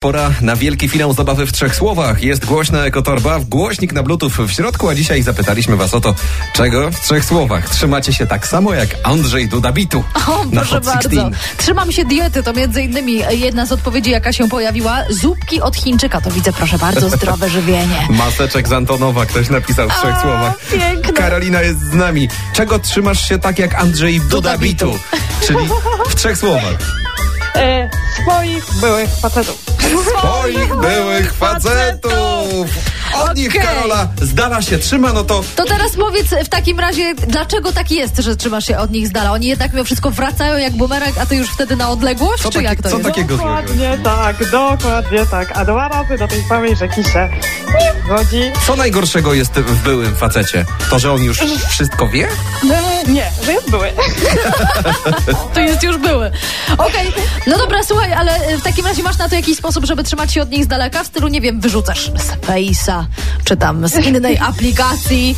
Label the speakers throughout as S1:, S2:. S1: pora na wielki finał zabawy w trzech słowach. Jest głośna ekotorba, głośnik na bluetooth w środku, a dzisiaj zapytaliśmy was o to, czego w trzech słowach trzymacie się tak samo jak Andrzej Dudabitu
S2: O,
S1: na
S2: proszę
S1: Hot
S2: bardzo.
S1: 16.
S2: Trzymam się diety, to między innymi jedna z odpowiedzi, jaka się pojawiła. Zupki od Chińczyka, to widzę, proszę bardzo, zdrowe żywienie.
S1: Maseczek z Antonowa, ktoś napisał w trzech
S2: O,
S1: słowach.
S2: piękne.
S1: Karolina jest z nami. Czego trzymasz się tak jak Andrzej Dudabitu? Czyli w trzech słowach.
S3: E, swoich byłych facetów.
S1: Moich byłych facetów! Od nich
S2: Okej.
S1: Karola z dala się trzyma, no to
S2: To teraz powiedz w takim razie, dlaczego tak jest, że trzymasz się od nich z dala? Oni jednak mimo wszystko wracają jak bumerang, a ty już wtedy na odległość,
S1: co,
S2: czy
S1: taki,
S2: jak to
S1: co
S2: jest?
S1: takiego złego?
S3: Dokładnie tak, dokładnie tak. A dwa razy do tej samej rzeki się nie wchodzi.
S1: Co najgorszego jest w byłym facecie? To, że on już wszystko wie?
S3: E, nie, że jest były.
S2: No, To jest już były. Okej, no dobra, słuchaj, ale y, w takim razie masz na to jakiś sposób, żeby trzymać się od nich z daleka, w stylu, nie wiem, wyrzucasz z Face'a, czy tam z innej aplikacji.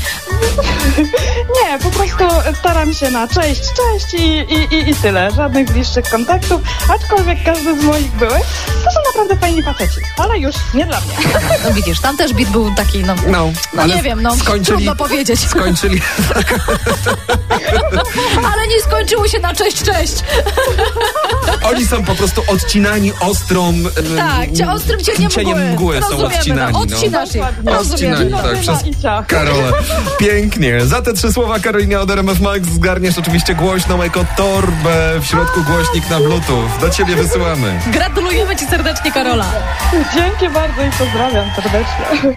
S3: Nie, po prostu staram się na cześć, cześć i, i, i, i tyle. Żadnych bliższych kontaktów, aczkolwiek każdy z moich byłych to są naprawdę fajni faceci. Ale już nie dla mnie.
S2: No widzisz, tam też bit był taki, no...
S1: No,
S2: No nie wiem, no
S1: skończyli,
S2: trudno powiedzieć.
S1: skończyli,
S2: Ale nie skończyło się na cześć, cześć.
S1: oni są po prostu odcinani ostrą... em,
S2: Tak, cię ostrym cieniem mgły.
S1: Mm, cieniem mgły są
S2: Rozumiemy,
S1: odcinani.
S2: no,
S1: no.
S2: odcinasz ich.
S3: Dokładnie.
S2: Rozumiem.
S1: Odcinani,
S3: Kino,
S1: tak,
S3: kino
S1: przez-
S3: i ciach.
S1: Karole, pięknie. Za te trzy słowa Karolina od RMF Max zgarniesz oczywiście głośną ekotorbę, w środku głośnik na bluetooth. Do ciebie wysyłamy.
S2: Gratulujemy ci serdecznie, Karola.
S3: Dzięki bardzo i pozdrawiam serdecznie.